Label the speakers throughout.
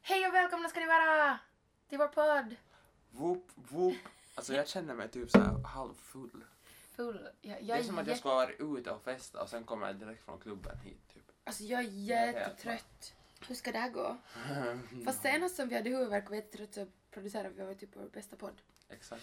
Speaker 1: Hej och välkomna ska ni vara till vår podd!
Speaker 2: Whoop, whoop. Alltså jag känner mig typ så här halvfull.
Speaker 1: Full. Jag,
Speaker 2: Det
Speaker 1: jag,
Speaker 2: är
Speaker 1: är
Speaker 2: som att
Speaker 1: jä-
Speaker 2: jag ska vara ute och festa och sen kommer jag direkt från klubben hit typ.
Speaker 1: alltså, jag är
Speaker 2: är helt
Speaker 1: jättetrött. Hur ska det här gå? Fast senast som vi hade huvudvärk och var jättetrött så producerade vi och var typ vår bästa podd.
Speaker 2: Exakt.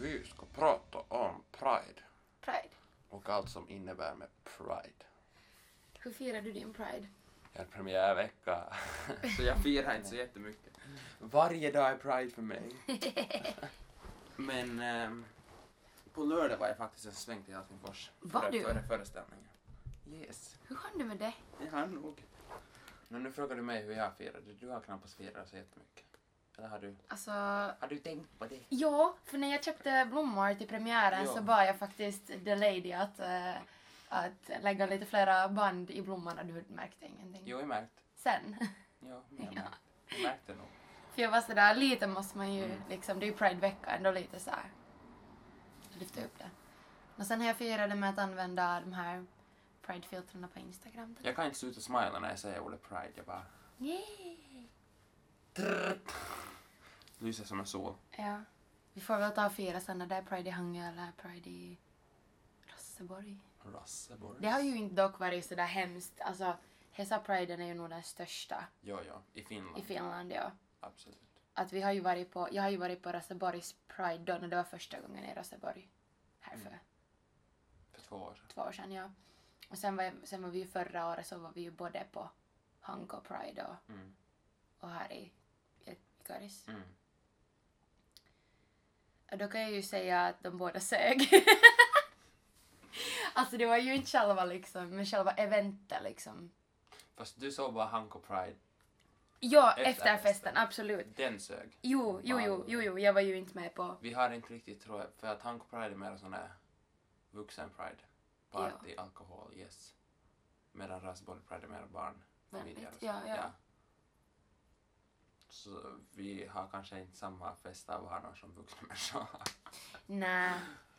Speaker 2: Vi ska prata om pride
Speaker 1: Pride.
Speaker 2: och allt som innebär med pride.
Speaker 1: Hur firar du din pride?
Speaker 2: Jag har premiärvecka, så jag firar inte så jättemycket. Varje dag är Pride för mig. Men ehm, på lördag var jag faktiskt en sväng till Helsingfors.
Speaker 1: Var
Speaker 2: före-
Speaker 1: du?
Speaker 2: Före föreställningen. Yes,
Speaker 1: Hur hann du med det?
Speaker 2: det har jag nog. Men nu frågar du mig hur jag firade. Du har knappast firat så jättemycket. Eller har du?
Speaker 1: Alltså...
Speaker 2: Har du tänkt på det?
Speaker 1: Ja, för när jag köpte blommor till premiären
Speaker 2: Ja.
Speaker 1: så bad jag faktiskt the lady att, eh, att lägga lite flera band i blommorna. Du märkte ingenting.
Speaker 2: Jo, jag märkt.
Speaker 1: Sen.
Speaker 2: Ja,
Speaker 1: Ja.
Speaker 2: men jag märkte. Jag märkte nog.
Speaker 1: För jag var sådär, lite måste man ju
Speaker 2: Mm.
Speaker 1: liksom, det är ju Pride-vecka ändå lite såhär. Lyfta upp det. Och sen har jag firat det med att använda de här Pride-filtrarna på Instagram.
Speaker 2: Jag kan inte sluta smila när jag säger ordet Pride. Jag bara...
Speaker 1: Yay!
Speaker 2: Lyser som en sol.
Speaker 1: Ja. Vi får väl ta och fira sen när det är Pride i Hangö eller Pride i Rosseborg.
Speaker 2: Rasseborg.
Speaker 1: Det har ju inte dock varit sådär hemskt. Alltså, Hesa-priden är ju nog den största
Speaker 2: Ja, ja. I Finland.
Speaker 1: i Finland. Ja.
Speaker 2: Absolut.
Speaker 1: Att vi har ju varit på, jag har ju varit på Rosseborgs Pride då när det var första gången i Rosseborg. Här för
Speaker 2: För två år sedan.
Speaker 1: två år sedan, ja. Och sen var, jag- sen var vi ju förra året så var vi ju både på Hanko Pride och,
Speaker 2: Mm.
Speaker 1: och här i, i i Karis.
Speaker 2: Mm.
Speaker 1: Och då kan jag ju säga att de båda sög. alltså det var ju inte själva liksom, men själva eventet liksom.
Speaker 2: Fast du såg bara Hanko Pride.
Speaker 1: Ja,
Speaker 2: Efter
Speaker 1: efter festen,
Speaker 2: festen.
Speaker 1: absolut.
Speaker 2: Den sög.
Speaker 1: Jo, jo, jo, jo, jo, jag var ju inte med på...
Speaker 2: Vi har inte riktigt tror jag, för att Hanko Pride är mer sån här vuxen Pride. Party, alkohol, yes. Medan Raspberry Pride är mer barn, familjer
Speaker 1: Vänligt,
Speaker 2: och
Speaker 1: ja,
Speaker 2: så.
Speaker 1: ja.
Speaker 2: Så vi har kanske inte samma festa vanor som vuxna människor har.
Speaker 1: Nej,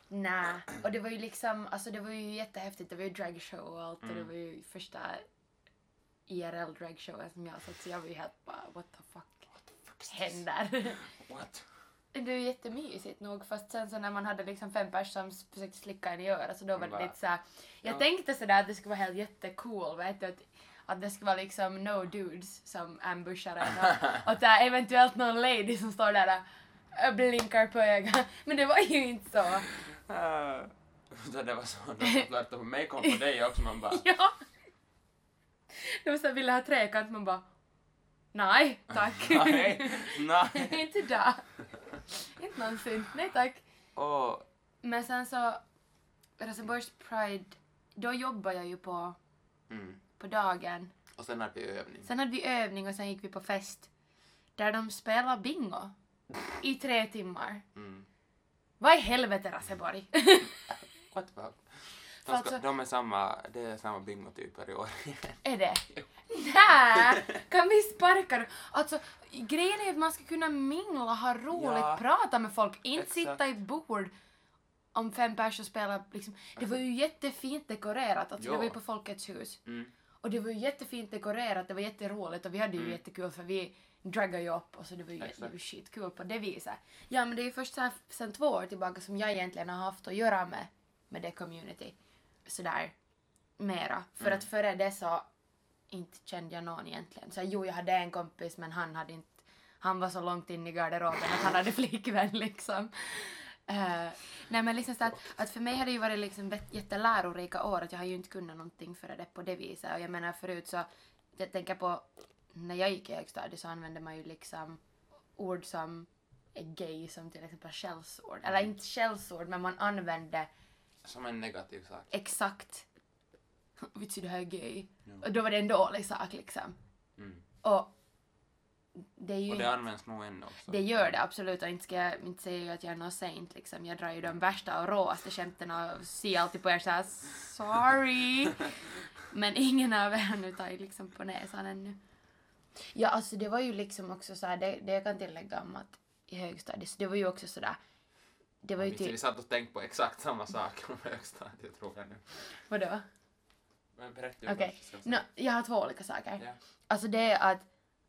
Speaker 1: nej. Och det var ju liksom, alltså det var ju jättehäftigt. Det var ju dragshow och allt och det
Speaker 2: Mm.
Speaker 1: var ju första IRL dragshowen som jag har sett så jag var ju helt bara what the fuck händer?
Speaker 2: What?
Speaker 1: det var ju jättemysigt nog fast sen så när man hade liksom fem pers som s- försökte slicka en i örat så då var det
Speaker 2: Va?
Speaker 1: lite såhär. Jag
Speaker 2: Ja.
Speaker 1: tänkte sådär att det skulle vara helt jättecool vet du att, att det skulle vara liksom no dudes som ambushar en och, och såhär, eventuellt någon lady som står där och blinkar på ögat. Men det var ju inte så.
Speaker 2: Utan det var så när de flörtade på mig kom på dig också man bara
Speaker 1: Ja. De så ville ha trekant, man bara nej tack.
Speaker 2: nej, nej.
Speaker 1: inte idag. inte någonsin. Nej tack.
Speaker 2: Och
Speaker 1: Men sen så, Rosenborgs Pride, då jobbar jag ju på,
Speaker 2: Mm.
Speaker 1: på dagen.
Speaker 2: Och sen hade vi övning.
Speaker 1: Sen hade vi övning och sen gick vi på fest. Där de spelar bingo. I tre timmar.
Speaker 2: Mm.
Speaker 1: Vad i helvete Raseborg?
Speaker 2: What the fuck?
Speaker 1: För
Speaker 2: De,
Speaker 1: att
Speaker 2: ska,
Speaker 1: så-
Speaker 2: de är samma, det är samma bingotyper i år.
Speaker 1: Är det? Nej! Kan vi sparka dem? Alltså, grejen är att man ska kunna mingla, ha roligt,
Speaker 2: Ja.
Speaker 1: prata med folk, inte
Speaker 2: Exakt.
Speaker 1: sitta i bord om fem personer spelar liksom. Det var ju jättefint dekorerat, alltså det
Speaker 2: Ja.
Speaker 1: var ju på Folkets hus.
Speaker 2: Mm.
Speaker 1: Och det var ju jättefint dekorerat, det var jätteroligt och vi hade ju jättekul för vi draggade ju upp och så det var ju det var
Speaker 2: Exakt.
Speaker 1: ju skitkul på det viset. Ja men det är ju först så här, sen två år tillbaka som jag egentligen har haft att göra med, med det community. Sådär mera. För att före det så inte kände jag någon egentligen. Så jo jag hade en kompis men han hade inte han var så långt in i garderoben att han hade flickvän liksom. Eh, nej men liksom så att, att för mig har det ju varit liksom vet- jättelärorika år att jag har ju inte kunnat någonting före det på det viset och jag menar förut så jag tänker på när jag gick i högstadiet så använde man ju liksom ord som är gay som till exempel skällsord eller
Speaker 2: Mm.
Speaker 1: inte skällsord men man använde
Speaker 2: Som en negativ sak.
Speaker 1: exakt vitsi du här är gay
Speaker 2: Ja.
Speaker 1: och då var det en dålig sak liksom
Speaker 2: Mm.
Speaker 1: och det är ju
Speaker 2: Och
Speaker 1: inte-
Speaker 2: det används nog ännu också.
Speaker 1: det gör det absolut och inte ska jag inte säga att jag är någon saint liksom. Jag drar ju de värsta och råaste skämten och ser alltid på er såhär sorry. Men ingen av er har nu tagit liksom på näsan ännu. Ja alltså det var ju liksom också såhär, det, det jag kan tillägga om att i högstadiet, så det var ju också sådär Det var ju
Speaker 2: Visst, Vi
Speaker 1: typ...
Speaker 2: satt och tänkte på exakt samma sak om högstadiet tror jag nu.
Speaker 1: Vadå?
Speaker 2: Men berätta ju
Speaker 1: Okej.
Speaker 2: först, ska jag
Speaker 1: Nå,
Speaker 2: säga.
Speaker 1: jag har två olika saker.
Speaker 2: Ja.
Speaker 1: Alltså det är att,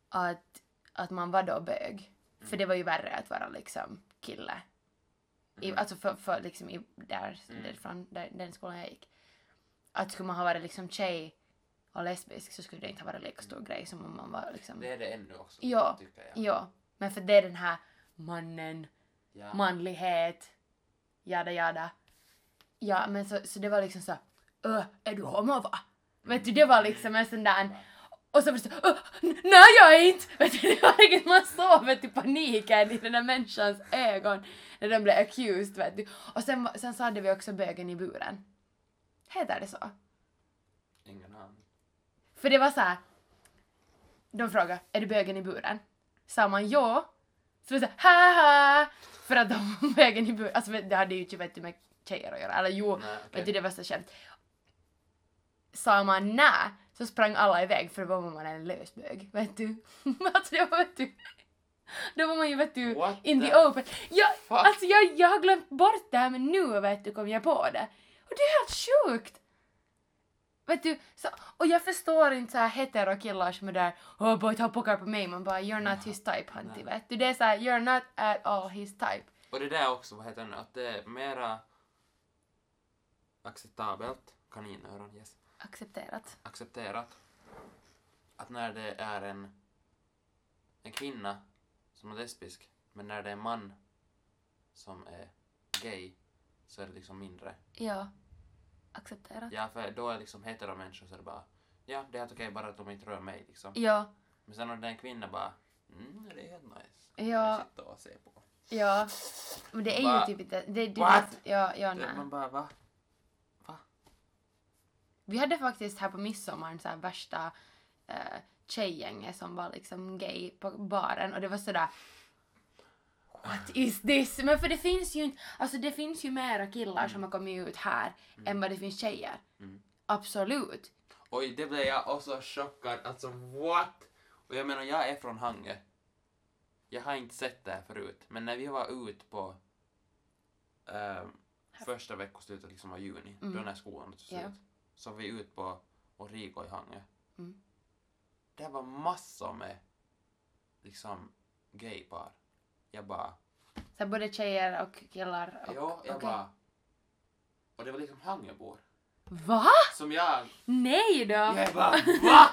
Speaker 1: att, att man var då bög. För det var ju värre att vara liksom kille. I,
Speaker 2: Mm.
Speaker 1: Alltså för, för liksom i, där,
Speaker 2: Mm.
Speaker 1: därifrån, där, den skolan jag gick. Att skulle man ha varit liksom tjej och lesbisk så skulle det inte vara lika stor grej som om man var liksom...
Speaker 2: Det är det ännu också,
Speaker 1: Ja.
Speaker 2: tycker jag.
Speaker 1: Ja, men för det är den här mannen,
Speaker 2: Ja.
Speaker 1: manlighet, jada jada. Ja, men så, så det var liksom så öh, är du homo va? Vet du, det var liksom en sån där, och så var det så, "Öh, n- nej jag är inte! Vet du, det var liksom, man såg vet du, paniken i den där människans ögon när den blev accused vet du. Och sen, var- sen så hade vi också bögen i buren. Heter det så?
Speaker 2: Ingen aning.
Speaker 1: För det var så här. De frågade, är du bögen i buren? Sa man ja, så var det så här, haha! För att de var bögen i buren. Alltså vet- det hade ju inte vet du, med tjejer att göra. Eller jo,
Speaker 2: Nej,
Speaker 1: vet
Speaker 2: okej.
Speaker 1: du, det var så känt. Sa man nej, så sprang alla iväg för då var man en lösbög. Vet du? alltså det var vet du. Då var man ju vet du
Speaker 2: What
Speaker 1: in
Speaker 2: the
Speaker 1: the open. Jag,
Speaker 2: fuck?
Speaker 1: alltså jag, jag har glömt bort det här men nu vet du kom jag på det. Och det är helt sjukt! Vet du, så, och jag förstår inte så här heterokillar som är där oh boy ta puckar på mig man bara you're not his type hunty vet du. Det är så här you're not at all his type.
Speaker 2: Och det där också, vad heter det nu, att det är mera acceptabelt, kaninöron, yes,
Speaker 1: Accepterat.
Speaker 2: accepterat att när det är en, en kvinna som är lesbisk, men när det är en man som är gay så är det liksom mindre.
Speaker 1: Ja. Accepterat.
Speaker 2: Ja, för då är liksom hetero människor så är det bara ja, det är helt okej bara att de inte rör mig liksom.
Speaker 1: Ja.
Speaker 2: Men sen om det är en kvinna bara mm, det är helt nice.
Speaker 1: Ja.
Speaker 2: Shit att se på.
Speaker 1: Ja. Men det är
Speaker 2: Va?
Speaker 1: ju typ inte... Det, du,
Speaker 2: What?
Speaker 1: Ja, ja, nej.
Speaker 2: Det, man bara va?
Speaker 1: Vi hade faktiskt här på midsommar så här värsta eh, tjejgänget som var liksom gay på baren och det var sådär What is this? Men för det finns ju inte, alltså det finns ju mera killar som har kommit ut här än vad det finns tjejer.
Speaker 2: Mm.
Speaker 1: Absolut.
Speaker 2: Oj, det blev jag också chockad. Alltså what? Och jag menar, jag är från Hange. Jag har inte sett det här förut, men när vi var ut på ehm, första veckoslutet liksom av juni,
Speaker 1: Mm.
Speaker 2: då när skolan tog slut,
Speaker 1: Ja.
Speaker 2: så var vi ut på Origo i Hange.
Speaker 1: Mm.
Speaker 2: Det var massor med liksom gaypar. Jag bara,
Speaker 1: Så här både tjejer och killar och...
Speaker 2: ja, jag
Speaker 1: okej.
Speaker 2: bara. Och det var liksom Hangöbor.
Speaker 1: Va?
Speaker 2: Som jag
Speaker 1: Nej då!
Speaker 2: Jag bara VA?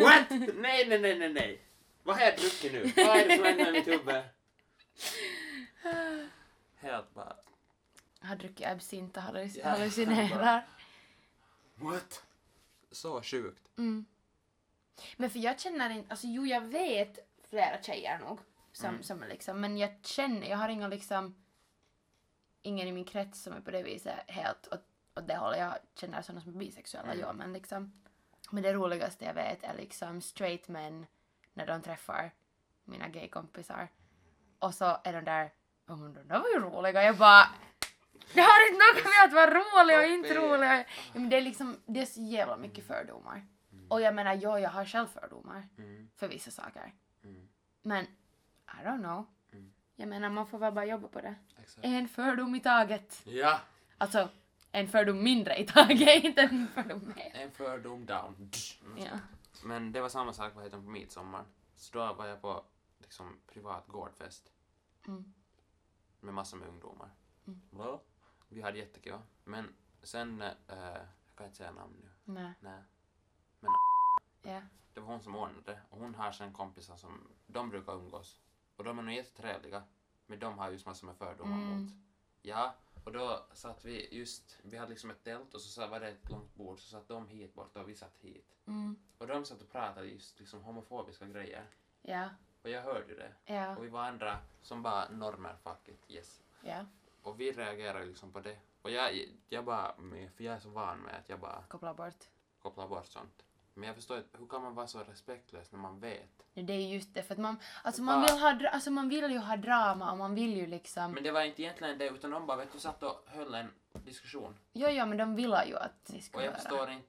Speaker 2: What? Nej, nej, nej, nej, nej. Vad har jag druckit nu? Vad är det som händer med mitt huvud? Helt bara
Speaker 1: Har druckit absint och halluc-
Speaker 2: Ja.
Speaker 1: hallucinerar.
Speaker 2: What? Så sjukt.
Speaker 1: Mm. Men för jag känner inte, alltså jo jag vet flera tjejer nog som,
Speaker 2: Mm.
Speaker 1: som är liksom, men jag känner, jag har inga liksom, ingen i min krets som är på det viset helt åt, åt det hållet. Jag känner sådana som är bisexuella,
Speaker 2: Mm.
Speaker 1: ja men liksom. Men det roligaste jag vet är liksom straight män när de träffar mina gaykompisar. Och så är de där, oh men de där var ju roliga. Jag bara, det har inte något med att vara rolig och inte
Speaker 2: Toppig.
Speaker 1: rolig. Ja, men det är liksom, det är så jävla mycket fördomar. Och jag menar, ja, jag har själv fördomar
Speaker 2: Mm,
Speaker 1: för vissa saker.
Speaker 2: mm,
Speaker 1: Men, I don't know.
Speaker 2: Mm.
Speaker 1: Jag menar, man får väl bara jobba på det.
Speaker 2: exakt.
Speaker 1: En fördom i taget.
Speaker 2: Ja,
Speaker 1: Alltså, en fördom mindre i taget, inte en fördom mer.
Speaker 2: en fördom down. Mm.
Speaker 1: Ja.
Speaker 2: Men det var samma sak vad heter det, på midsommar. Så då var jag på liksom privat gårdfest.
Speaker 1: Mm.
Speaker 2: Med massor med ungdomar.
Speaker 1: Mm.
Speaker 2: Va? Vi hade jättekul. Men sen, eh, jag kan inte säga namn nu.
Speaker 1: Nej.
Speaker 2: Nej.
Speaker 1: Ja.
Speaker 2: Det var hon som ordnade och hon har sen kompisar som de brukar umgås. Och de är nog jättetrevliga. Men de har just massor med fördomar
Speaker 1: Mm.
Speaker 2: mot. Ja, och då satt vi just, vi hade liksom ett tält och så sa- var det ett långt bord så satt de hit bort och vi satt hit.
Speaker 1: Mm.
Speaker 2: Och de satt och pratade just liksom homofobiska grejer.
Speaker 1: Ja.
Speaker 2: Och jag hörde ju det.
Speaker 1: Ja.
Speaker 2: Och vi var andra som bara normer fuck it, yes.
Speaker 1: Ja.
Speaker 2: Och vi reagerade ju liksom på det. Och jag, jag bara, men- för jag är så van med att jag bara
Speaker 1: Koppla bort.
Speaker 2: kopplar bort sånt. Men jag förstår inte, hur kan man vara så respektlös när man vet
Speaker 1: Ja, Det är just det, för att man, alltså
Speaker 2: Det
Speaker 1: man,
Speaker 2: bara-
Speaker 1: vill ha, dra- alltså man vill ju ha drama och man vill ju liksom...
Speaker 2: Men det var inte egentligen det, utan de bara vet du, satt och höll en diskussion.
Speaker 1: Ja, ja, men de vill ju att ni ska
Speaker 2: Och jag
Speaker 1: göra.
Speaker 2: förstår inte,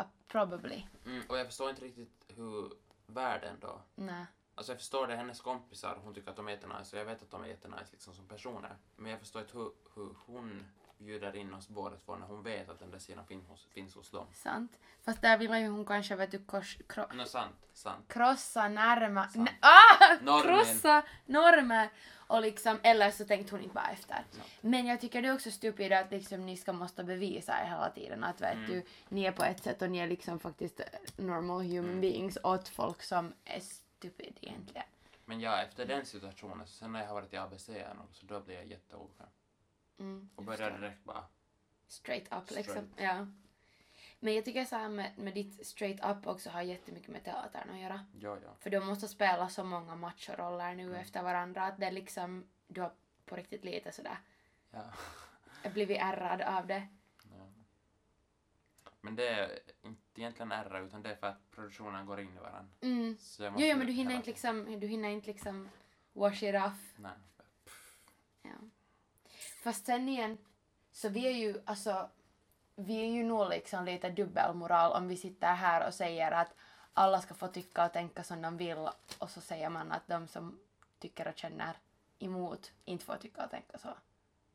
Speaker 1: Uh, probably.
Speaker 2: mm, och jag förstår inte riktigt hur världen då
Speaker 1: Nej.
Speaker 2: Alltså jag förstår det, hennes kompisar, hon tycker att de är jättenice och jag vet att de är jättenice liksom som personer. Men jag förstår inte hur, hur hon bjuder in oss båda två när hon vet att den där sidan finns hos, finns hos dem.
Speaker 1: Sant. Fast där vill man ju hon kanske vet du kors, kro,
Speaker 2: Nå, sant, sant.
Speaker 1: krossa närma...
Speaker 2: Sant.
Speaker 1: N- ah!
Speaker 2: Normen.
Speaker 1: Krossa normer! Och liksom, eller så tänkte hon inte bara efter.
Speaker 2: Sant.
Speaker 1: Men jag tycker det är också stupid att liksom ni ska måste bevisa er hela tiden att vet
Speaker 2: Mm.
Speaker 1: du, ni är på ett sätt och ni är liksom faktiskt normal human
Speaker 2: Mm.
Speaker 1: beings åt folk som är stupid egentligen.
Speaker 2: Men ja, efter den situationen, sen när jag har varit i ABC igen, så då blir jag jätteobekväm.
Speaker 1: Mm,
Speaker 2: Och
Speaker 1: jag
Speaker 2: börjar
Speaker 1: förstår.
Speaker 2: direkt bara...
Speaker 1: straight up liksom.
Speaker 2: Straight.
Speaker 1: Ja. Men jag tycker så här med, med ditt straight up också har jättemycket med teatern att göra.
Speaker 2: Ja, ja.
Speaker 1: För du måste spela så många matchroller nu
Speaker 2: Mm.
Speaker 1: efter varandra att det är liksom, du har på riktigt lite sådär
Speaker 2: ja.
Speaker 1: blivit ärrad av det.
Speaker 2: Ja. Men det är inte egentligen ärra, utan det är för att produktionen går in i varandra.
Speaker 1: Mm.
Speaker 2: Så jag
Speaker 1: Jo,
Speaker 2: måste
Speaker 1: jo, men du hinner
Speaker 2: hela-
Speaker 1: inte liksom, du hinner inte liksom wash it off.
Speaker 2: Nej.
Speaker 1: Ja. Fast sen igen, så vi är ju alltså, vi är ju nog liksom lite dubbelmoral om vi sitter här och säger att alla ska få tycka och tänka som de vill och så säger man att de som tycker och känner emot inte får tycka och tänka så.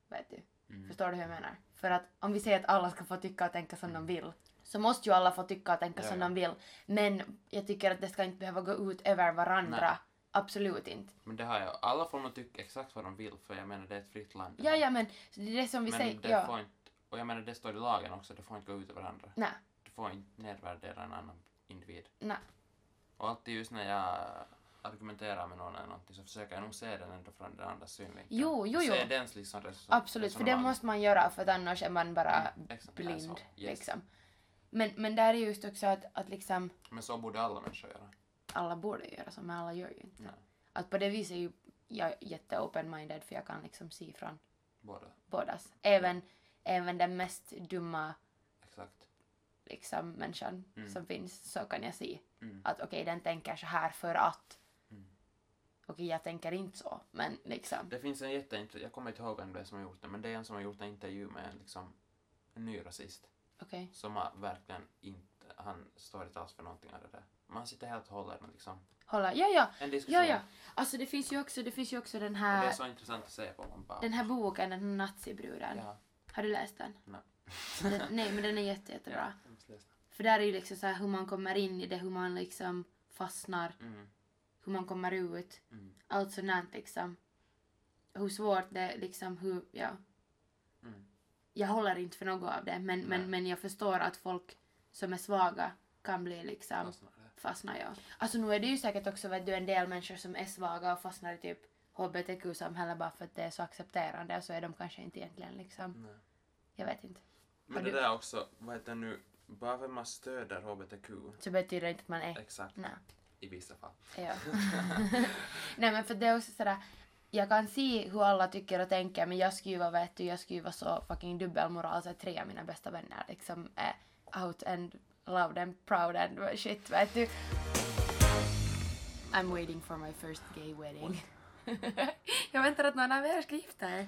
Speaker 1: Vet du?
Speaker 2: Mm.
Speaker 1: Förstår du hur jag menar? För att om vi säger att alla ska få tycka och tänka som de vill så måste ju alla få tycka och tänka
Speaker 2: Mm. Ja,
Speaker 1: som
Speaker 2: ja.
Speaker 1: de vill. Men jag tycker att det ska inte behöva gå ut över varandra.
Speaker 2: Nej.
Speaker 1: Absolut inte.
Speaker 2: Men det har jag. Alla får nog tycka exakt vad de vill, för jag menar det är ett fritt land. det
Speaker 1: Ja,
Speaker 2: här.
Speaker 1: ja, men det är det som vi
Speaker 2: men
Speaker 1: säger.
Speaker 2: det
Speaker 1: ja.
Speaker 2: får inte... Och jag menar det står i lagen också, det får inte gå ut över varandra.
Speaker 1: Nej.
Speaker 2: Du får inte nedvärdera en annan individ.
Speaker 1: Nej.
Speaker 2: Och alltid just när jag argumenterar med någon eller någonting så försöker jag nog se den ändå från den andra synvinkeln.
Speaker 1: Jo, jo,
Speaker 2: Och
Speaker 1: jo.
Speaker 2: Se dens liksom reson-
Speaker 1: Absolut, för det
Speaker 2: resonemang.
Speaker 1: måste man göra för att annars är man bara
Speaker 2: Mm, exakt, det är
Speaker 1: blind.
Speaker 2: så. Yes.
Speaker 1: Liksom. Men, men där är just också att, att liksom,
Speaker 2: Men så borde alla människor göra.
Speaker 1: alla borde göra så, men alla gör ju inte.
Speaker 2: Nej.
Speaker 1: Att på det viset är ju jag jätte-open-minded för jag kan liksom se från
Speaker 2: Båda.
Speaker 1: bådas. Även, även den mest dumma
Speaker 2: Exakt.
Speaker 1: liksom, människan
Speaker 2: Mm.
Speaker 1: som finns så kan jag se
Speaker 2: Mm.
Speaker 1: att okej, den tänker så här för att.
Speaker 2: Mm.
Speaker 1: Okej, jag tänker inte så, men liksom.
Speaker 2: Det finns en jätteintressant, jag kommer inte ihåg vem det är som har gjort det, men det är en som har gjort en intervju med en, liksom, en ny rasist
Speaker 1: Okej.
Speaker 2: som har verkligen inte, han står inte alls för någonting av det där. Man sitter helt och håller med liksom
Speaker 1: Hålla. Ja, ja,
Speaker 2: en diskussion.
Speaker 1: ja, ja. Alltså det finns ju också, det finns ju också den
Speaker 2: Och det är
Speaker 1: här
Speaker 2: så intressant att se på. Man bara,
Speaker 1: Den här boken, den här nazibruden.
Speaker 2: ja.
Speaker 1: Har du läst den?
Speaker 2: Nej.
Speaker 1: den? Nej, men den är jätte, jättebra.
Speaker 2: Ja, jag måste läsa.
Speaker 1: För där är ju liksom så här hur man kommer in i det, hur man liksom fastnar,
Speaker 2: Mm,
Speaker 1: hur man kommer ut.
Speaker 2: mm,
Speaker 1: Allt sånt där liksom. Hur svårt det är liksom, hur, ja.
Speaker 2: mm.
Speaker 1: Jag håller inte för något av det, men,
Speaker 2: Nej.
Speaker 1: men, men jag förstår att folk som är svaga kan bli liksom
Speaker 2: Och sådana där.
Speaker 1: fastnar jag. Alltså nu är det ju säkert också vet du, en del människor som är svaga och fastnar i typ hbtq-samhället bara för att det är så accepterande och så är de kanske inte egentligen liksom,
Speaker 2: Nej.
Speaker 1: jag vet inte.
Speaker 2: Men
Speaker 1: Har
Speaker 2: det
Speaker 1: du-
Speaker 2: där också, vad heter det nu, bara för att man stöder HBTQ,
Speaker 1: Så betyder det inte att man är...
Speaker 2: exakt,
Speaker 1: Nej.
Speaker 2: i vissa fall.
Speaker 1: Ja. Nej men för det är också sådär, jag kan se hur alla tycker och tänker men jag skulle ju vara vet du, jag skulle ju vara så fucking dubbelmoral så att tre av mina bästa vänner liksom är out and loud and proud and shit vet du. I'm waiting for my first gay wedding. jag väntar att någon av er ska gifta er.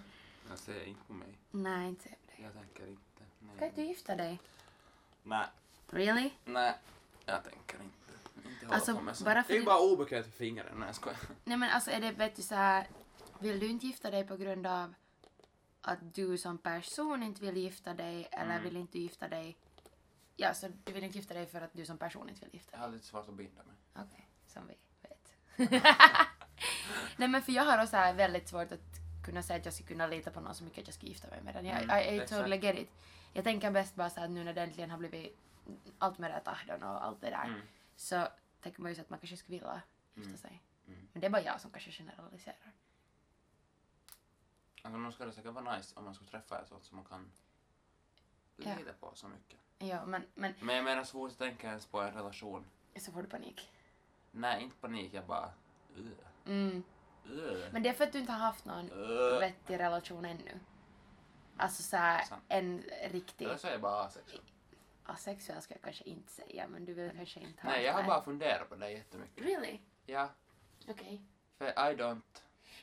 Speaker 2: Jag ser inte på mig.
Speaker 1: Nej, inte jag.
Speaker 2: Jag tänker inte.
Speaker 1: Ska
Speaker 2: Nej.
Speaker 1: typ- inte du gifta dig?
Speaker 2: Nej,
Speaker 1: Really?
Speaker 2: nej, jag tänker inte. Inte hålla
Speaker 1: Alltså,
Speaker 2: på med sånt.
Speaker 1: bara för
Speaker 2: Det är ju
Speaker 1: din-
Speaker 2: bara obekvämt för fingrarna. Nej, jag skojar.
Speaker 1: Nej men alltså är det vet du så här, vill du inte gifta dig på grund av att du som person inte vill gifta dig eller
Speaker 2: Mm.
Speaker 1: vill inte gifta dig? Ja, så du vill inte gifta dig för att du som person inte vill gifta
Speaker 2: Jag
Speaker 1: dig?
Speaker 2: har lite svårt att binda mig.
Speaker 1: Okej, som vi vet. Nej men för jag har också här väldigt svårt att kunna säga att jag skulle kunna lita på någon så mycket att jag skulle gifta mig med den. Jag,
Speaker 2: Mm,
Speaker 1: I, I
Speaker 2: exakt.
Speaker 1: totally get it. Jag tänker bäst bara så här nu när det äntligen har blivit allt med rätt ahdon och allt det där
Speaker 2: Mm.
Speaker 1: så tänker man ju så att man kanske skulle vilja gifta
Speaker 2: Mm.
Speaker 1: sig.
Speaker 2: Mm.
Speaker 1: Men det är bara jag som kanske generaliserar.
Speaker 2: Alltså, nog skulle det säkert vara nice om man skulle träffa en sån som man kan
Speaker 1: Ja.
Speaker 2: lita på så mycket.
Speaker 1: Ja, men, men
Speaker 2: Men jag menar, så fort jag tänker ens på en relation.
Speaker 1: så får du panik.
Speaker 2: Nej, inte panik, jag bara... Ugh.
Speaker 1: Mm.
Speaker 2: Ugh.
Speaker 1: Men det är för att du inte har haft någon
Speaker 2: Ugh.
Speaker 1: vettig relation ännu. Alltså såhär
Speaker 2: Sant. Eh.
Speaker 1: en riktig
Speaker 2: Eller så är jag bara asexuell.
Speaker 1: asexuell ska jag kanske inte säga men du vill kanske inte ha
Speaker 2: Nej, jag har
Speaker 1: Nej.
Speaker 2: bara funderat på det jättemycket.
Speaker 1: Really?
Speaker 2: Ja,
Speaker 1: Okej.
Speaker 2: för I don't...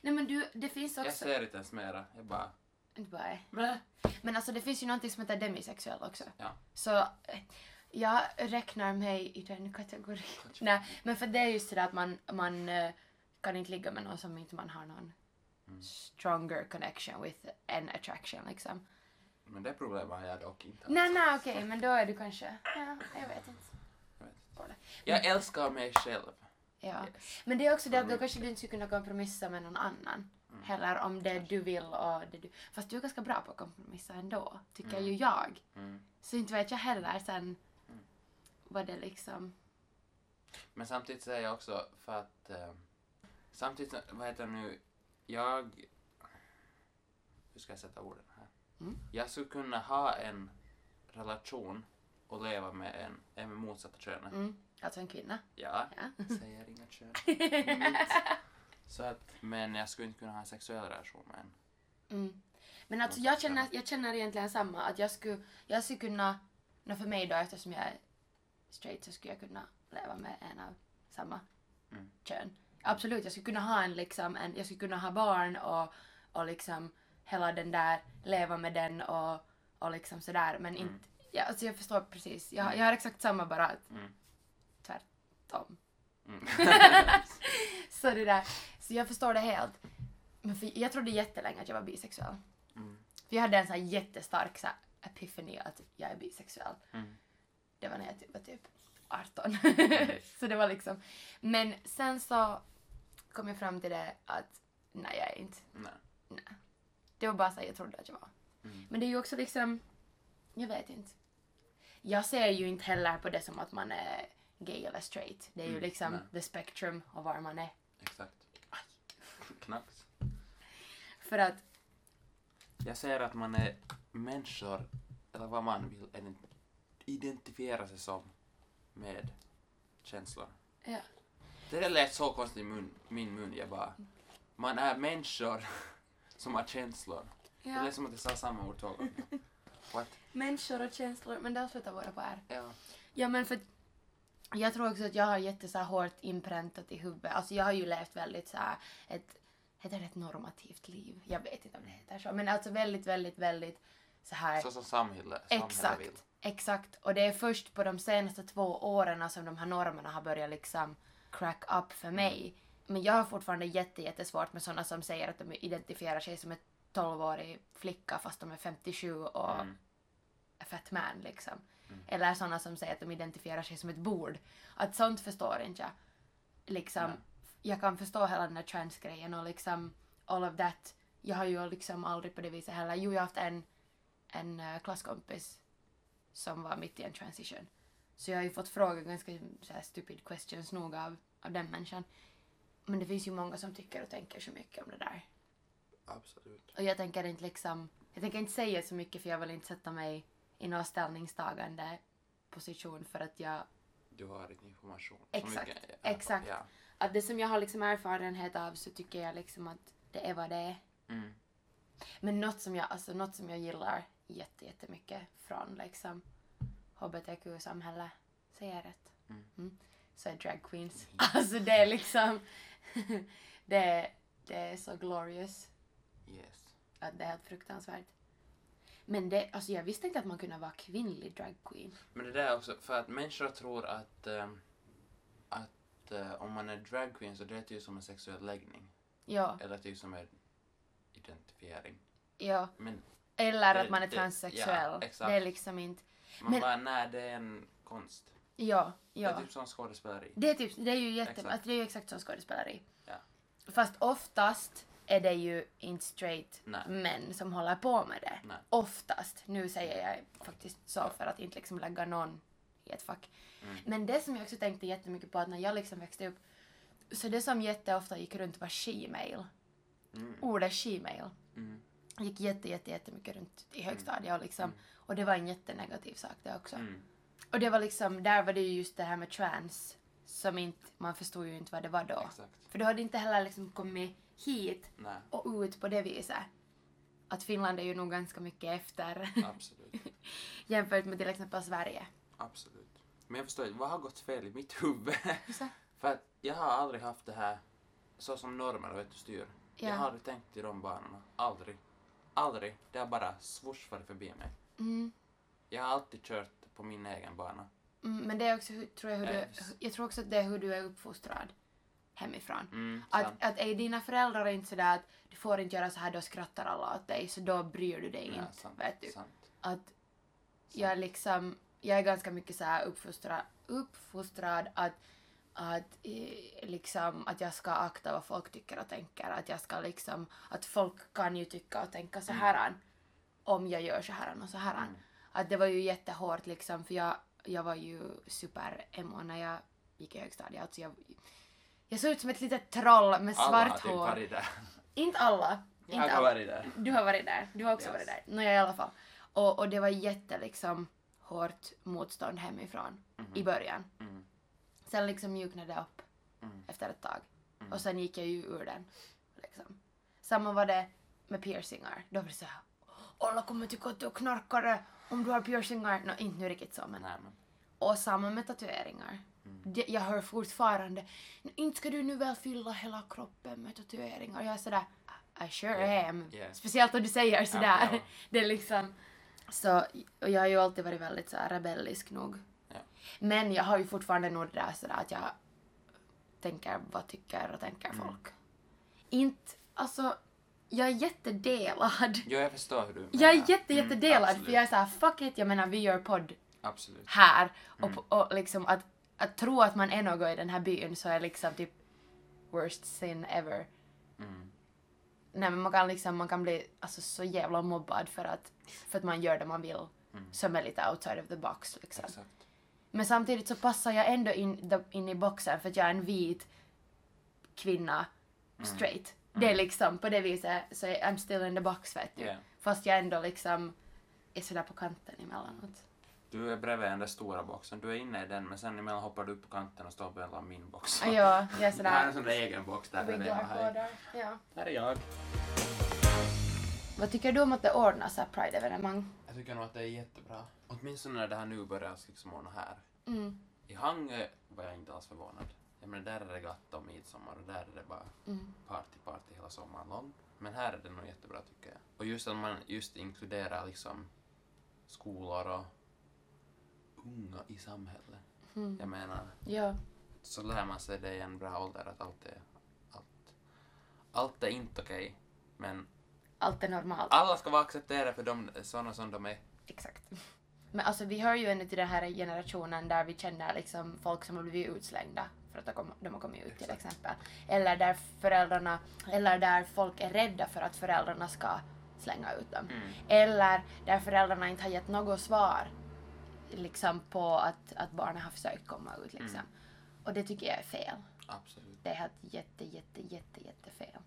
Speaker 1: Nej men du, det finns
Speaker 2: Jag
Speaker 1: också...
Speaker 2: ser inte ens mera. Jag bara...
Speaker 1: Inte bara-
Speaker 2: Meh.
Speaker 1: Men alltså det finns ju någonting som heter demisexuell också.
Speaker 2: Ja.
Speaker 1: Så eh, Jag räknar mig i den kategorin. Nej, men för det är just det där att man, man eh, kan inte ligga med någon som inte man har någon stronger connection with an attraction liksom.
Speaker 2: Men det problemet har jag dock inte.
Speaker 1: Nej, nej, okej, men då är du kanske... Ja, jag vet inte.
Speaker 2: Jag vet inte.
Speaker 1: Kolla.
Speaker 2: Jag älskar mig själv.
Speaker 1: Ja.
Speaker 2: Yes.
Speaker 1: Men det är också det att då
Speaker 2: Mm.
Speaker 1: kanske du inte skulle kunna kompromissa med någon annan. Heller om det du vill och det du... Fast du är ganska bra på att kompromissa ändå, tycker ju jag.
Speaker 2: Mm.
Speaker 1: Så inte vet jag heller sen vad det liksom...
Speaker 2: Men samtidigt säger jag också för att... Eh, samtidigt, vad heter det nu? Jag... Hur ska jag sätta orden här?
Speaker 1: Mm.
Speaker 2: Jag skulle kunna ha en relation och leva med en, en med motsatta könet.
Speaker 1: Mm. Alltså en kvinna.
Speaker 2: Ja,
Speaker 1: Ja.
Speaker 2: säger inga kön. Mitt. Så att, men jag skulle inte kunna ha en sexuell relation med en.
Speaker 1: Mm. Men alltså jag känner, jag känner egentligen samma. Att jag skulle, jag skulle kunna, nå för mig då eftersom jag är straight så skulle jag kunna leva med en av samma
Speaker 2: Mm.
Speaker 1: kön. Absolut, jag skulle kunna ha en liksom, en, jag skulle kunna ha barn och, och liksom hela den där, leva med den och, och liksom sådär. Men
Speaker 2: Mm.
Speaker 1: inte, ja, alltså jag förstår precis. Jag, jag har exakt samma bara att
Speaker 2: Mm.
Speaker 1: tvärtom.
Speaker 2: Mm.
Speaker 1: Så det där. Så jag förstår det helt. Men för, jag trodde jättelänge att jag var bisexuell.
Speaker 2: Mm.
Speaker 1: För jag hade en sån här jättestark så här, epiphany att jag är bisexuell.
Speaker 2: Mm.
Speaker 1: Det var när jag typ, var typ 18.
Speaker 2: Mm.
Speaker 1: så det var liksom. Men sen så kom jag fram till det att nej jag är inte.
Speaker 2: Nej.
Speaker 1: Det var bara så här, jag trodde att jag var.
Speaker 2: Mm.
Speaker 1: Men det är ju också liksom, jag vet inte. Jag ser ju inte heller på det som att man är gay eller straight. Det är ju
Speaker 2: Mm,
Speaker 1: liksom
Speaker 2: nej.
Speaker 1: the spectrum av var man är.
Speaker 2: Exakt. Knappt.
Speaker 1: För att
Speaker 2: Jag säger att man är människor, eller vad man vill, ident- identifiera sig som med känslor.
Speaker 1: Ja.
Speaker 2: Det där lät så konstigt i mun, min mun, jag bara... Man är människor som har känslor. Det
Speaker 1: Ja,
Speaker 2: lät som att jag sa samma ord två gånger. What?
Speaker 1: människor och känslor, men det slutar vara på R.
Speaker 2: Ja.
Speaker 1: Ja men för att jag tror också att jag har jätte så här hårt inpräntat i huvudet. Alltså jag har ju levt väldigt så här ett, heter det ett normativt liv? Jag vet inte om det heter så. Men alltså väldigt, väldigt, väldigt så här.
Speaker 2: Så som samhälle, samhälle vill.
Speaker 1: exakt, exakt. Och det är först på de senaste två åren som de här normerna har börjat liksom crack up
Speaker 2: Mm.
Speaker 1: för mig. Men jag har fortfarande jätte, jättesvårt med sådana som säger att de identifierar sig som en 12-årig flicka fast de är 57 och
Speaker 2: Mm.
Speaker 1: a fat man liksom. Eller sådana som säger att de identifierar sig som ett bord. Att sånt förstår inte jag. Liksom,
Speaker 2: Nej.
Speaker 1: jag kan förstå hela den här transgrejen och liksom all of that. Jag har ju liksom aldrig på det viset heller. Jo, jag har haft en, en eh, klasskompis som var mitt i en transition. Så jag har ju fått fråga ganska så här, stupid questions nog av, av den människan. Men det finns ju många som tycker och tänker så mycket om det där.
Speaker 2: Absolut.
Speaker 1: Och jag tänker inte liksom, jag tänker inte säga så mycket för jag vill inte sätta mig i någon ställningstagande position för att jag,
Speaker 2: Du har din information. Så
Speaker 1: Exakt,
Speaker 2: mycket-
Speaker 1: exakt.
Speaker 2: Ja.
Speaker 1: att det som jag har liksom erfarenhet av så tycker jag liksom att det är vad det är.
Speaker 2: Mm.
Speaker 1: Men något som jag, alltså något som jag gillar jätte, jättemycket från liksom hbtq-samhälle, säger jag rätt?
Speaker 2: Mm.
Speaker 1: Så är drag queens. Alltså det är liksom, det, är- det är så glorious.
Speaker 2: Yes.
Speaker 1: att det är helt fruktansvärt. Men det, alltså jag visste inte att man kunde vara kvinnlig drag queen.
Speaker 2: Men det där är också, för att människor tror att, ehm, att eh, om man är drag queen så det är typ som en sexuell läggning.
Speaker 1: Ja,
Speaker 2: Eller typ som en identifiering.
Speaker 1: ja.
Speaker 2: Men
Speaker 1: Eller
Speaker 2: Det-
Speaker 1: att man är
Speaker 2: det-
Speaker 1: transsexuell.
Speaker 2: ja, exakt.
Speaker 1: det är liksom inte...
Speaker 2: man
Speaker 1: Men-
Speaker 2: bara, nej det är en konst.
Speaker 1: Ja,
Speaker 2: Det är
Speaker 1: ja.
Speaker 2: typ som skådespeleri.
Speaker 1: Det är, typ, det är ju jätte,
Speaker 2: Exakt.
Speaker 1: Alltså, det är ju exakt som skådespeleri.
Speaker 2: Ja.
Speaker 1: Fast oftast är det ju inte straight
Speaker 2: Nej.
Speaker 1: män som håller på med det.
Speaker 2: Nej.
Speaker 1: Oftast. Nu säger jag faktiskt så för att inte liksom lägga någon i ett fack.
Speaker 2: Mm.
Speaker 1: Men det som jag också tänkte jättemycket på att när jag liksom växte upp så det som jätteofta gick runt var she-mail.
Speaker 2: Mm.
Speaker 1: Ordet she-mail
Speaker 2: Mm.
Speaker 1: gick jätte, jätte, jättemycket runt i högstadiet och liksom och det var en jättenegativ sak det också.
Speaker 2: Mm.
Speaker 1: Och det var liksom, där var det ju just det här med trans som inte, man förstod ju inte vad det var då.
Speaker 2: Exakt.
Speaker 1: För då hade det inte heller liksom kommit hit
Speaker 2: Nej,
Speaker 1: och ut på det viset. Att Finland är ju nog ganska mycket efter
Speaker 2: absolut.
Speaker 1: jämfört med till exempel Sverige.
Speaker 2: absolut. Men jag förstår inte, vad har gått fel i mitt huvud?
Speaker 1: Så,
Speaker 2: För att jag har aldrig haft det här så som normer vet du styr.
Speaker 1: Ja.
Speaker 2: Jag har aldrig tänkt i de banorna. Aldrig. Aldrig. Det har bara svors förbi mig.
Speaker 1: mm,
Speaker 2: Jag har alltid kört på min egen bana.
Speaker 1: Mm, men det är också, hur- tror jag, hur du,
Speaker 2: Yes.
Speaker 1: jag tror också att det är hur du är uppfostrad hemifrån.
Speaker 2: Mm, sant.
Speaker 1: Att, att är dina föräldrar inte sådär att du får inte göra så här, då skrattar alla åt dig, så då bryr du dig
Speaker 2: Ja,
Speaker 1: inte.
Speaker 2: sant,
Speaker 1: vet du?
Speaker 2: sant.
Speaker 1: Att jag liksom, jag är ganska mycket så här uppfostrad, uppfostrad att, att eh, liksom, att jag ska akta vad folk tycker och tänker. Att jag ska liksom, att folk kan ju tycka och tänka
Speaker 2: Mm.
Speaker 1: så här om jag gör så här och så här. Att det var ju jättehårt liksom, för jag, jag var ju super-emo när jag gick i högstadiet. Alltså jag, jag såg ut som ett litet troll med
Speaker 2: Alla
Speaker 1: svart
Speaker 2: har typ
Speaker 1: hår.
Speaker 2: varit där.
Speaker 1: Inte alla.
Speaker 2: Jag
Speaker 1: inte
Speaker 2: har
Speaker 1: alla.
Speaker 2: varit där.
Speaker 1: Du har varit där. Du har också
Speaker 2: Yes.
Speaker 1: varit där. Nåja, i alla fall. Och, och det var jätte liksom hårt motstånd hemifrån i början.
Speaker 2: Mm.
Speaker 1: Sen liksom mjuknade det upp
Speaker 2: Mm.
Speaker 1: efter ett tag. Och sen gick jag ju ur den. Liksom. Samma var det med piercingar. Då var det såhär alla kommer tycka att du är knarkare om du har piercingar. Nå, inte nu riktigt så men.
Speaker 2: Nej, men.
Speaker 1: Och samma med tatueringar.
Speaker 2: Mm.
Speaker 1: Det, jag hör fortfarande, "Nå, inte ska du nu väl fylla hela kroppen med tatueringar. Jag är sådär, I sure
Speaker 2: Yeah.
Speaker 1: am.
Speaker 2: Yeah.
Speaker 1: Speciellt om du säger sådär.
Speaker 2: ja.
Speaker 1: Det är liksom... Så, och jag har ju alltid varit väldigt så rebellisk nog.
Speaker 2: Ja.
Speaker 1: Men jag har ju fortfarande nog det där sådär att jag tänker vad tycker och tänker
Speaker 2: Mm.
Speaker 1: folk. Inte, alltså, jag är jättedelad.
Speaker 2: Jo, jag förstår hur du menar.
Speaker 1: Jag är jätte,
Speaker 2: Mm,
Speaker 1: jättedelad
Speaker 2: absolut.
Speaker 1: för jag är såhär fuck it, jag menar vi gör podd
Speaker 2: Absolut.
Speaker 1: här och,
Speaker 2: Mm.
Speaker 1: på- och liksom att, att tro att man är något i den här byn så är liksom typ worst sin ever.
Speaker 2: Mm.
Speaker 1: Nej men man kan liksom, man kan bli alltså, så jävla mobbad för att, för att man gör det man vill som är lite outside of the box liksom.
Speaker 2: Mm. Exakt.
Speaker 1: Men samtidigt så passar jag ändå in, the, in i boxen för att jag är en vit kvinna,
Speaker 2: Mm.
Speaker 1: straight. Det är liksom på det viset, så jag- I'm still in the box vet du.
Speaker 2: Yeah.
Speaker 1: Fast jag ändå liksom är sådär på kanten emellanåt.
Speaker 2: Du är bredvid den där stora boxen. Du är inne i den, men sen emellan hoppar du upp på kanten och står mellan min box.
Speaker 1: Ja, jag är
Speaker 2: Det här är en
Speaker 1: sådär...
Speaker 2: sån där egen box där. där, det är, hej.
Speaker 1: Ja.
Speaker 2: här är jag.
Speaker 1: Vad tycker du om att det ordnas så här Pride-evenemang?
Speaker 2: Jag tycker nog att det är jättebra. Åtminstone när det här nu börjar liksom ordna här.
Speaker 1: Mm.
Speaker 2: I Hangö var jag inte alls förvånad. Jag menar, där är det glatt om midsommar och där är det bara
Speaker 1: Mm.
Speaker 2: party, party hela sommaren lång. Men här är det nog jättebra tycker jag. Och just att man just inkluderar liksom skolor och unga i samhället.
Speaker 1: Mm.
Speaker 2: Jag menar,
Speaker 1: Ja.
Speaker 2: så lär man sig det i en bra ålder att allt är, allt, allt är inte okej. Men
Speaker 1: Allt är normalt.
Speaker 2: alla ska vara accepterade för dem, sådana som de är.
Speaker 1: Exakt. Men alltså vi hör ju ännu till den här generationen där vi känner liksom folk som har blivit utslängda för att de kom- de har kommit ut till exempel. Eller där föräldrarna, eller där folk är rädda för att föräldrarna ska slänga ut dem. Eller där föräldrarna inte har gett något svar liksom på att, att barnen har försökt komma ut liksom. Och det tycker jag är fel.
Speaker 2: Absolut. Mm.
Speaker 1: Det är helt jätte, jätte, jätte, jätte fel.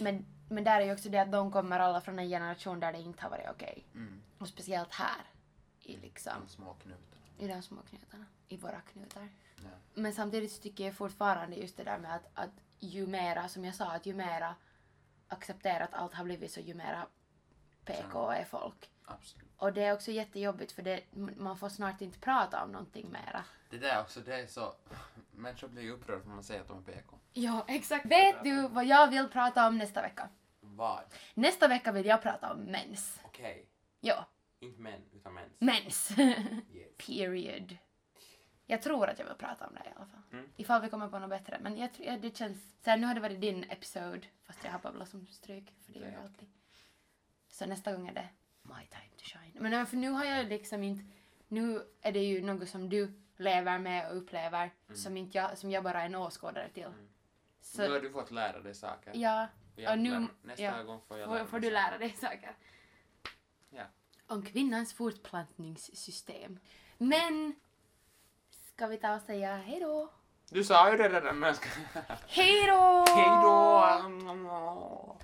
Speaker 1: Men, men där är ju också det att de kommer alla från en generation där det inte har varit okej.
Speaker 2: Mm.
Speaker 1: Och speciellt här. I, liksom,
Speaker 2: De små knutarna.
Speaker 1: I de små knutarna. I våra knutar.
Speaker 2: Ja.
Speaker 1: Men samtidigt så tycker jag fortfarande just det där med att, att ju mera, som jag sa, att ju mera accepterat allt har blivit så ju mera PK är folk.
Speaker 2: Absolut.
Speaker 1: Och det är också jättejobbigt för det, m- man får snart inte prata om någonting mera.
Speaker 2: Det där också, det är så... Människor blir ju upprörda för man säger att de är PK.
Speaker 1: Ja, exakt. Vet du vad jag vill prata om nästa vecka?
Speaker 2: Vad?
Speaker 1: Nästa vecka vill jag prata om mens.
Speaker 2: Okej.
Speaker 1: Ja,
Speaker 2: Inte män, utan mens.
Speaker 1: mens.
Speaker 2: Yes.
Speaker 1: Period. Jag tror att jag vill prata om det i alla fall.
Speaker 2: Mm.
Speaker 1: Ifall vi kommer på något bättre. Men jag tror, ja, det känns... Så här, nu har det varit din episode, fast jag har babblat som stryk, för det gör jag
Speaker 2: Ja.
Speaker 1: alltid. Så nästa gång är det my time to shine. Men ja, för nu har jag liksom inte... Nu är det ju något som du lever med och upplever, som, inte jag, som jag bara är en åskådare till. Så,
Speaker 2: Nu har du fått lära dig saker.
Speaker 1: ja,
Speaker 2: Jag
Speaker 1: och nu-
Speaker 2: lär- nästa
Speaker 1: ja.
Speaker 2: gång får jag lära
Speaker 1: får,
Speaker 2: mig
Speaker 1: får du
Speaker 2: saker.
Speaker 1: lära dig saker.
Speaker 2: Ja.
Speaker 1: om kvinnans fortplantningssystem. Men ska vi ta och säga hej då?
Speaker 2: Du sa ju det redan, men jag ska... mm,
Speaker 1: Hej då!
Speaker 2: Hej då!